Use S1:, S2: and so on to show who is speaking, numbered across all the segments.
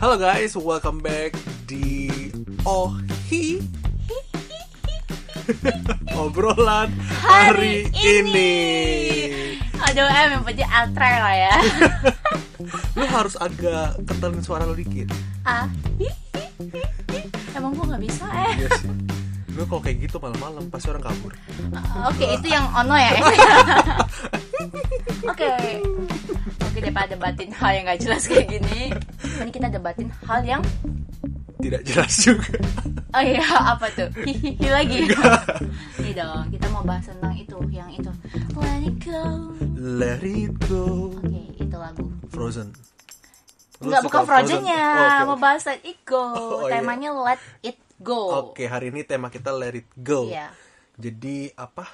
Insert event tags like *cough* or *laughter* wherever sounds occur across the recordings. S1: Halo guys, welcome back di Ohi *laughs* Obrolan hari,
S2: Hari
S1: ini.
S2: Aduh em yang penting outro lah
S1: *laughs*
S2: ya.
S1: Lu harus agak kentalin suara lu
S2: *laughs*
S1: dikit.
S2: ah. hi, hi, hi, hi. Emang gua nggak bisa eh.
S1: Iya sih. Lu kalau kayak gitu malam-malam pasti orang kabur.
S2: Oke itu yang ono
S1: *laughs*
S2: ya. Em? Oke. Oke daripada debatin hal yang nggak jelas kayak gini. Ini kita debatin hal yang
S1: Tidak jelas
S2: *laughs*
S1: juga.
S2: oh iya apa tuh? Hihihi lagi. Nih dong kita mau bahas tentang itu yang itu. Let it go.
S1: Let it go.
S2: Oke itu lagu.
S1: Frozen. Lu
S2: Nggak
S1: suka
S2: bukan frozennya,
S1: Oh, oke, oke.
S2: mau bahas let it go.
S1: *laughs* Oh, iya.
S2: Temanya let it go.
S1: Oke, hari ini tema kita Let It Go.
S2: Iya.
S1: Jadi apa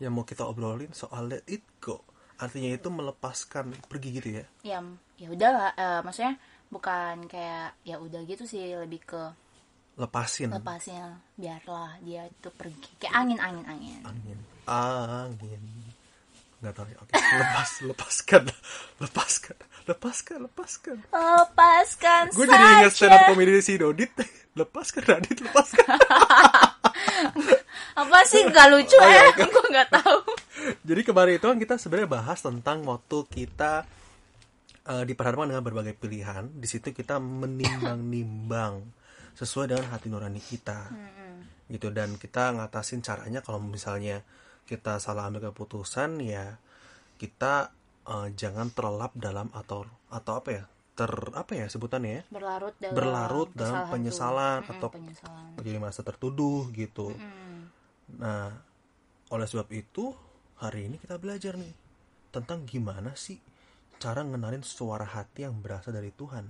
S1: yang mau kita obrolin soal Let It Go? Artinya itu melepaskan pergi gitu ya?
S2: ya ya udah lah eh, maksudnya bukan kayak ya udah gitu sih lebih ke
S1: Hmm. Lepasin.
S2: lepasin biarlah dia itu pergi kayak angin angin angin
S1: Angin. Angin. Nggak tahu ya. Oke, *laughs* lepas, lepaskan, lepaskan, lepaskan, lepaskan.
S2: lepaskan
S1: Gue jadi ingat stand up
S2: saja.
S1: comedy si Dodit. Lepaskan, Radit, lepaskan.
S2: apa sih nggak lucu
S1: *laughs* Oh, iya,
S2: ya *laughs*
S1: oke.
S2: gue nggak tahu
S1: Jadi kemarin itu kan kita sebenarnya bahas tentang waktu kita eh, diperhadapkan dengan berbagai pilihan. Di situ kita menimbang-nimbang sesuai dengan hati nurani kita, gitu. Dan kita ngatasin caranya kalau misalnya kita salah ambil keputusan, ya kita eh, jangan terlelap dalam atau atau apa ya ter apa ya sebutannya ya
S2: berlarut dalam
S1: berlarut dalam
S2: kesalahan
S1: penyesalan
S2: tuh. Mm-mm,
S1: atau
S2: penyesalan
S1: jadi merasa tertuduh gitu.
S2: Mm.
S1: Nah, oleh sebab itu, hari ini kita belajar nih tentang gimana sih cara ngenalin suara hati yang berasal dari Tuhan.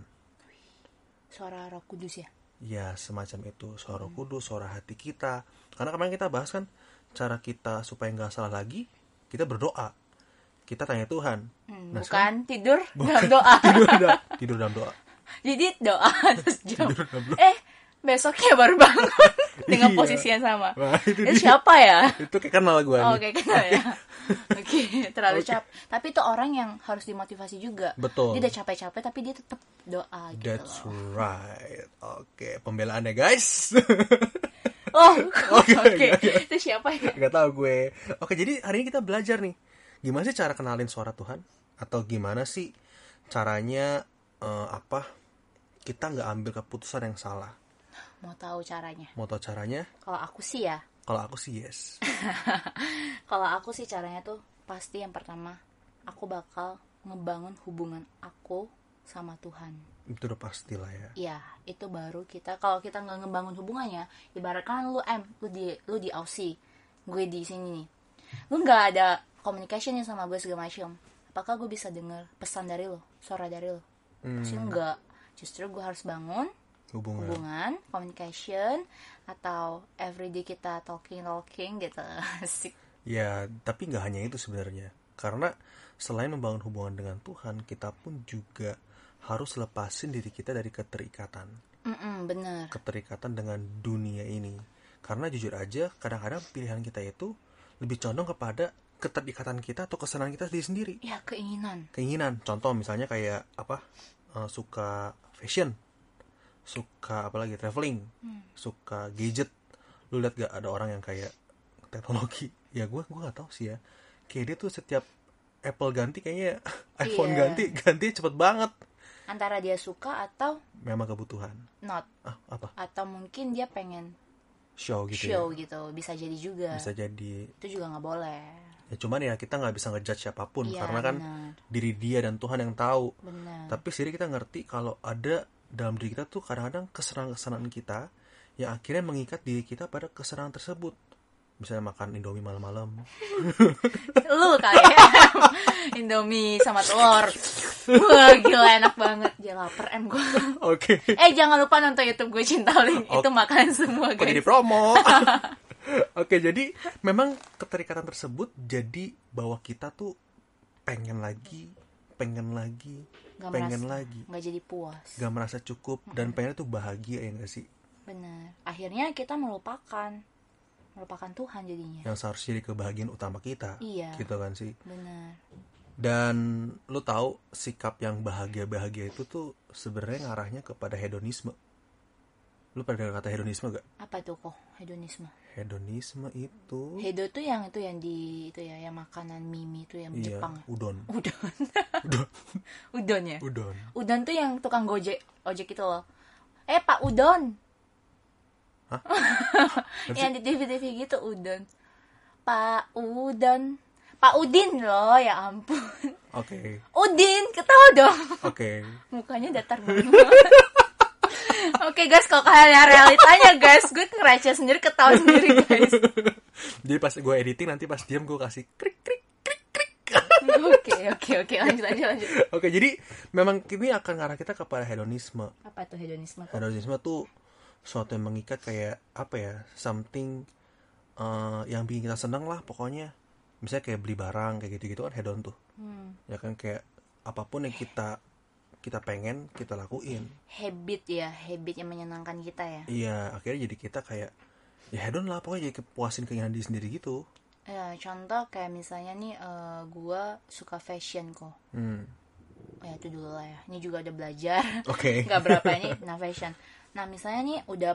S2: suara roh kudus ya
S1: Ya, semacam itu, suara
S2: Hmm.
S1: kudus, suara hati kita. Karena kemarin kita bahas kan cara kita supaya nggak salah lagi, kita berdoa. Kita tanya Tuhan.
S2: Hmm,
S1: Nah,
S2: bukan tidur dalam *laughs* doa
S1: *laughs* Tidur dalam, tidur dalam doa.
S2: jadi doa *laughs* terus jam
S1: Tidur dalam doa.
S2: eh besoknya baru bangun
S1: *laughs*
S2: dengan
S1: Iya.
S2: posisi yang sama
S1: Wah, itu
S2: itu
S1: dia.
S2: siapa ya
S1: Itu kayak kenal gue
S2: Oh,
S1: nih.
S2: Oke, kenal
S1: *laughs*
S2: ya. Oke, terlalu cap. Tapi itu orang yang harus dimotivasi juga.
S1: Betul.
S2: Dia udah capek-capek tapi dia tetap doa
S1: *laughs*
S2: gitu
S1: That's
S2: loh.
S1: right. Oke, pembelaannya guys. *laughs*
S2: Oh,
S1: Oke,
S2: oke.
S1: oke.
S2: Itu siapa ya?
S1: Gak tahu gue. Oke, jadi hari ini kita belajar nih. Gimana sih cara kenalin suara Tuhan? Atau gimana sih caranya eh, apa? Kita nggak ambil keputusan yang salah.
S2: Mau tahu caranya?
S1: Mau tau caranya?
S2: Kalau aku sih ya. *laughs*
S1: Kalau aku sih yes.
S2: Kalau aku sih caranya tuh pasti yang pertama aku bakal ngebangun hubungan aku sama Tuhan.
S1: Itu udah pasti lah ya.
S2: Iya, itu baru kita kalau kita nggak ngebangun hubungannya, ibaratkan lu M, lu di lu di Aussie, gue di sini nih. Lu nggak ada communication nih sama gue segala macam. Apakah gue bisa dengar pesan dari lo, suara dari lo?
S1: Hmm.
S2: Pasti enggak. Justru gue harus bangun
S1: Iya. Hubungan.
S2: hubungan, communication atau everyday kita talking talking gitu. *laughs* Asik.
S1: Ya, tapi nggak hanya itu sebenarnya. Karena selain membangun hubungan dengan Tuhan, kita pun juga harus lepasin diri kita dari keterikatan.
S2: Mm-mm, bener.
S1: keterikatan dengan dunia ini. Karena jujur aja, kadang-kadang pilihan kita itu lebih condong kepada keterikatan kita atau kesenangan kita sendiri sendiri.
S2: Ya keinginan.
S1: Keinginan, contoh misalnya kayak apa? eh, suka fashion, suka apalagi traveling,
S2: Hmm.
S1: suka gadget. Lu lihat gak ada orang yang kayak teknologi? *laughs* Ya gue gue nggak tahu sih ya. Kayak dia tuh setiap Apple ganti kayaknya *laughs* iPhone
S2: Iya.
S1: ganti ganti cepet banget.
S2: Antara dia suka atau
S1: Memang kebutuhan.
S2: not
S1: Ah apa?
S2: atau mungkin dia pengen
S1: Show gitu
S2: show
S1: ya.
S2: gitu bisa jadi juga
S1: Bisa jadi
S2: itu juga nggak boleh
S1: ya cuman ya kita nggak bisa ngejudge siapapun
S2: Iya,
S1: karena kan
S2: benar. Iya.
S1: diri dia dan Tuhan yang tahu
S2: benar *laughs*
S1: tapi sendiri kita ngerti kalau ada dalam diri kita tuh kadang-kadang kesenangan-kesenangan kita yang akhirnya mengikat diri kita pada kesenangan tersebut misalnya makan indomie malam-malam
S2: *laughs* lu kali ya *laughs* Indomie sama telur wah gila enak banget dia lapar em gue
S1: oke
S2: *laughs* eh jangan lupa nonton YouTube gue cinta Link itu
S1: Oke.
S2: makanan semua
S1: Kok jadi
S2: guys *laughs*
S1: promo *laughs* oke jadi memang keterikatan tersebut jadi bahwa kita tuh pengen lagi pengen lagi
S2: Nggak
S1: pengen
S2: merasa.
S1: lagi
S2: nggak jadi puas
S1: gak merasa cukup dan pengen tuh bahagia ya gak sih
S2: benar akhirnya kita melupakan melupakan Tuhan jadinya
S1: Ya, yang seharusnya jadi kebahagiaan utama kita
S2: Iya.
S1: gitu kan Gitu sih
S2: benar
S1: dan lu tahu sikap yang bahagia bahagia itu tuh sebenarnya ngarahnya kepada hedonisme lu pada dengar kata hedonisme gak
S2: Apa itu kok hedonisme?
S1: hedonisme itu
S2: Hedo tuh yang itu yang di itu ya yang makanan mimi itu yang
S1: iya
S2: Jepang. ya?
S1: udon
S2: Udon.
S1: udon
S2: *laughs* Udon ya.
S1: udon
S2: Udon tuh yang tukang gojek ojek itu loh. Eh Pak Udon.
S1: Hah?
S2: *laughs* yang di TV TV gitu Udon. Pak Udon. Pak Udin loh ya ampun. *laughs*
S1: oke
S2: Udin ketawa dong.
S1: oke
S2: Mukanya datar banget. Oke guys, kalau kalian lihat realitanya guys, gue ngeraca sendiri ketawa sendiri guys.
S1: jadi pas gue editing nanti pas diam gue kasih krik krik
S2: Oke oke oke lanjut lanjut lanjut.
S1: oke jadi memang ini akan ngarah kita kepada hedonisme
S2: Apa tuh hedonisme? kok?
S1: hedonisme tuh suatu yang mengikat kayak apa ya something eh, yang bikin kita senang lah pokoknya misalnya kayak beli barang kayak gitu gitu kan hedon tuh
S2: Hmm,
S1: ya kan kayak apapun yang kita kita pengen kita lakuin
S2: habit ya, habit yang menyenangkan kita ya.
S1: iya akhirnya jadi kita kayak ya hedon lah pokoknya jadi kepuasin keinginan diri sendiri gitu
S2: Ya, contoh kayak misalnya nih eh, gua suka fashion kok.
S1: hmm.
S2: Ya itu dulu lah ya. Ini juga ada
S1: *laughs*
S2: belajar. *laughs*
S1: oke
S2: nggak berapa ini nah fashion. Nah, misalnya nih udah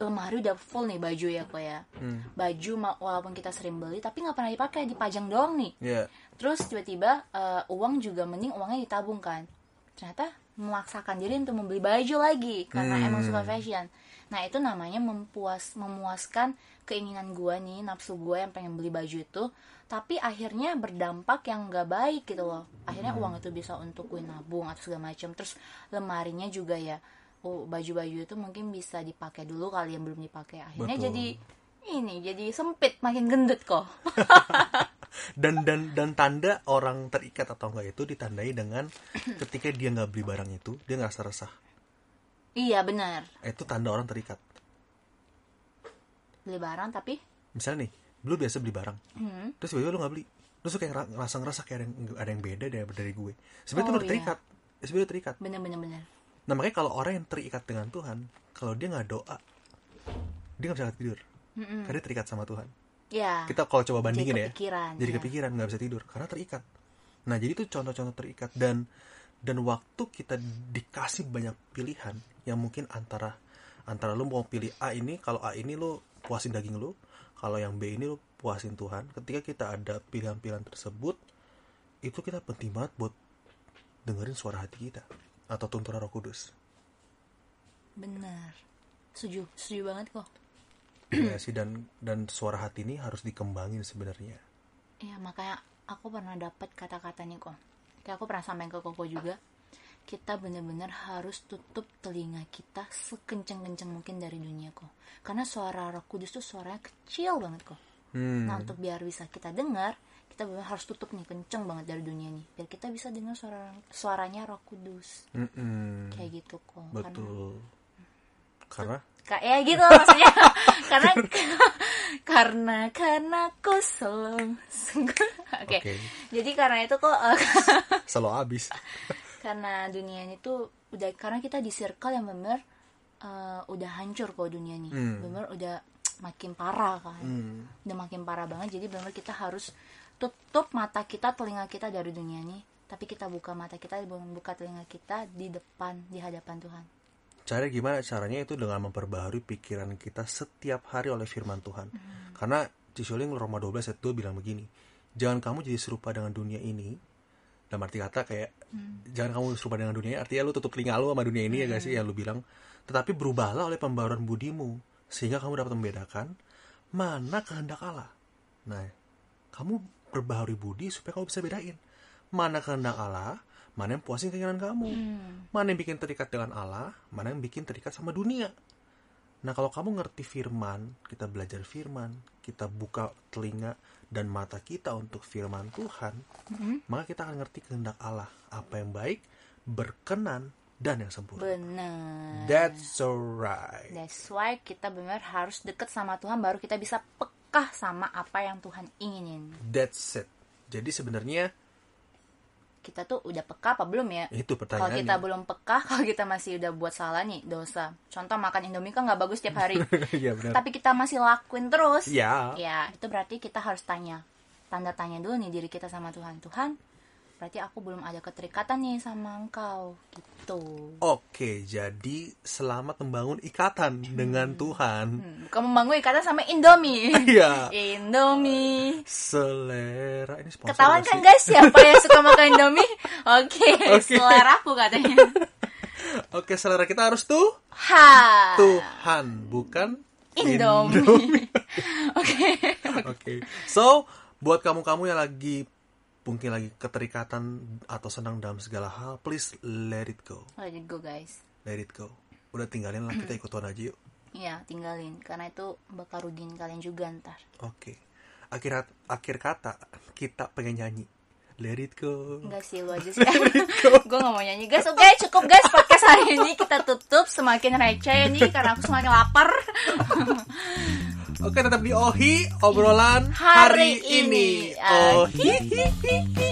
S2: lemari udah full nih baju ya kok ya.
S1: Hmm.
S2: Baju ma- walaupun kita sering beli tapi nggak pernah dipakai, dipajang doang nih.
S1: ya
S2: Terus tiba-tiba eh, uang juga mending uangnya ditabung kan. Ternyata memaksakan diri untuk membeli baju lagi karena emang suka fashion. Nah, itu namanya mempuas memuaskan keinginan gua nih, nafsu gua yang pengen beli baju itu, tapi akhirnya berdampak yang nggak baik gitu loh. Akhirnya uang itu bisa untuk gue nabung atau segala macam. Terus lemarinya juga ya oh, baju-baju itu mungkin bisa dipakai dulu kali yang belum dipakai. Akhirnya
S1: Betul.
S2: jadi ini jadi sempit makin gendut kok. *laughs*
S1: dan dan dan tanda orang terikat atau enggak itu ditandai dengan ketika dia nggak beli barang itu dia ngerasa resah Eh,
S2: iya, benar.
S1: itu tanda orang terikat
S2: Beli barang tapi
S1: misalnya nih lu biasa beli barang
S2: Hmm.
S1: terus tiba-tiba lu nggak beli terus lu kayak ngera- ngerasa ngerasa kayak ada yang, ada yang beda dari, dari gue sebenarnya itu
S2: Oh,
S1: udah
S2: iya.
S1: terikat sebenarnya udah terikat
S2: Bener bener bener.
S1: nah makanya kalau orang yang terikat dengan Tuhan kalau dia nggak doa dia nggak bisa tidur
S2: Mm-mm.
S1: karena dia terikat sama Tuhan
S2: Ya.
S1: kita kalau coba bandingin ya
S2: kepikiran,
S1: jadi
S2: ya.
S1: kepikiran nggak bisa tidur karena terikat nah jadi itu contoh-contoh terikat dan dan waktu kita dikasih banyak pilihan yang mungkin antara antara lu mau pilih A ini kalau A ini lu puasin daging lu kalau yang B ini lu puasin Tuhan ketika kita ada pilihan-pilihan tersebut itu kita penting banget buat dengerin suara hati kita atau tuntunan Roh Kudus
S2: Bener. Setuju, setuju banget kok.
S1: Iya sih dan dan suara hati ini harus dikembangin sebenarnya
S2: Iya makanya aku pernah dapat kata-kata nih kok. Kayak aku pernah sampein ke Koko juga. Kita bener-bener harus tutup telinga kita sekenceng-kenceng mungkin dari dunia kok. Karena suara Roh Kudus tuh suaranya kecil banget kok.
S1: hmm.
S2: Nah untuk biar bisa kita dengar, kita benar harus tutup nih kenceng banget dari dunia nih. Biar kita bisa dengar suara suaranya Roh Kudus.
S1: Mm-mm.
S2: Kayak gitu kok. Karena
S1: Betul. Hmm. Karena
S2: kayak gitu loh maksudnya *laughs* karena karena karena aku selalu sungguh *laughs* oke
S1: Oke.
S2: jadi karena itu kok eh, *laughs*
S1: selalu habis.
S2: karena dunia ini tuh udah karena kita di circle yang bener eh, udah hancur kok dunia ini
S1: Hmm.
S2: bener udah makin parah kan
S1: Hmm.
S2: udah makin parah banget jadi bener kita harus tutup mata kita telinga kita dari dunia ini tapi kita buka mata kita buka telinga kita di depan di hadapan Tuhan
S1: Cara gimana caranya itu dengan memperbaharui pikiran kita setiap hari oleh firman Tuhan. Karena Cisuling Roma 12 ayat 2 bilang begini, jangan kamu jadi serupa dengan dunia ini. Dalam arti kata kayak jangan kamu serupa dengan dunia ini, artinya lu tutup telinga lu sama dunia ini ya guys ya lu bilang. Tetapi berubahlah oleh pembaruan budimu sehingga kamu dapat membedakan mana kehendak Allah. Nah, kamu berbaharui budi supaya kamu bisa bedain mana kehendak Allah, mana yang puasin keinginan kamu, mana yang bikin terikat dengan Allah, mana yang bikin terikat sama dunia. Nah, kalau kamu ngerti firman, kita belajar firman, kita buka telinga dan mata kita untuk firman Tuhan, maka kita akan ngerti kehendak Allah, apa yang baik, berkenan, dan yang sempurna.
S2: bener
S1: That's alright.
S2: That's why kita benar harus deket sama Tuhan baru kita bisa pekah sama apa yang Tuhan inginin.
S1: That's it. Jadi sebenarnya
S2: Kita tuh udah peka apa belum ya?
S1: itu
S2: Kalau
S1: pertanyaannya.
S2: kita belum peka, *laughs* kalau kita masih udah buat salah nih, dosa. Contoh makan Indomie kan nggak bagus tiap hari.
S1: *laughs* Iya *laughs* benar.
S2: Tapi kita masih lakuin terus.
S1: Ya.
S2: Ya, itu berarti kita harus tanya. Tanda tanya dulu nih diri kita sama Tuhan. Tuhan, berarti aku belum ada keterikatan nih sama engkau gitu
S1: Oke, jadi selamat membangun ikatan dengan Tuhan.
S2: Hmm, bukan membangun ikatan sama Indomie
S1: Iya.
S2: *laughs* Indomie
S1: Selera ini sponsor
S2: ketahuan
S1: nggak
S2: kan
S1: sih?
S2: guys siapa yang suka
S1: *laughs*
S2: makan Indomie oke
S1: Oke.
S2: selera aku
S1: *laughs*
S2: katanya
S1: Oke, selera kita harus tuh
S2: ha
S1: Tuhan, bukan
S2: Ah. Indomie, *laughs* oke
S1: Oke. So, buat kamu-kamu yang lagi mungkin lagi keterikatan atau senang dalam segala hal, please let it go.
S2: let it go guys
S1: Let it go. Udah tinggalin lah
S2: Mm.
S1: kita ikut Tuhan aja yuk.
S2: Iya, tinggalin karena itu bakal rugiin kalian juga ntar.
S1: Oke. Akhir akhir kata kita pengen nyanyi. Let it go.
S2: Enggak sih lu
S1: *laughs*
S2: aja sih. *laughs* gue gak mau nyanyi guys. Oke cukup guys podcast hari ini kita tutup semakin receh nih karena aku semakin lapar.
S1: Oke, tetap di Ohi obrolan
S2: Hari
S1: hari, ini. Oh,
S2: ini. Ah,
S1: Ohi.